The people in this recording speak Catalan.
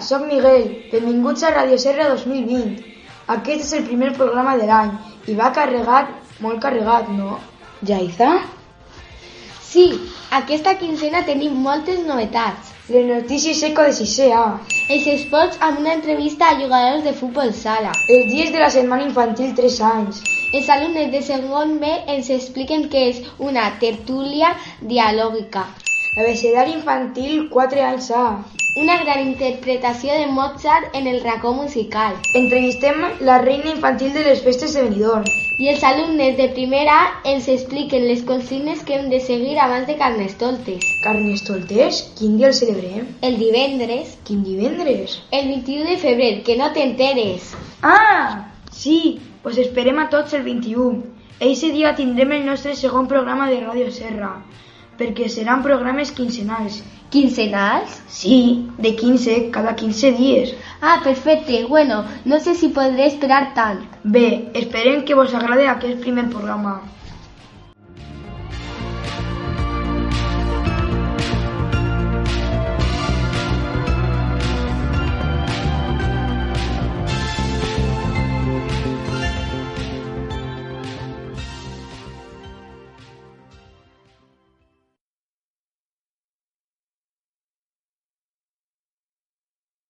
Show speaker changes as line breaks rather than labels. soc Miguel. Benvinguts a Radio Serra 2020. Aquest és el primer programa de l'any i va carregat, molt carregat, no? Jaiza?
Sí, aquesta quinzena tenim moltes novetats.
Les notícies eco de 6A.
Els esports amb una entrevista a jugadors de futbol sala.
Els dies de la setmana infantil 3 anys.
Els alumnes de segon B ens expliquen què és una tertúlia dialògica.
L'abecedari infantil 4 anys A.
Una gran interpretació de Mozart en el racó musical.
Entrevistem la reina infantil de les festes de Benidorm.
I els alumnes de primera ens expliquen les consignes que hem de seguir abans de Carnestoltes.
Carnestoltes? Quin dia el celebrem?
El divendres,
Quin divendres?
el 21 de febrer, que no t'enteres.
Ah! Sí, us esperem a tots el 21. Eixe dia tindrem el nostre segon programa de Ràdio Serra, perquè seran programes quinzenals.
Quincenals?
Sí, de 15 cada 15 dies.
Ah, perfecte. Bueno, no sé si podré esperar tant.
Bé, esperem que vos agrade aquest primer programa.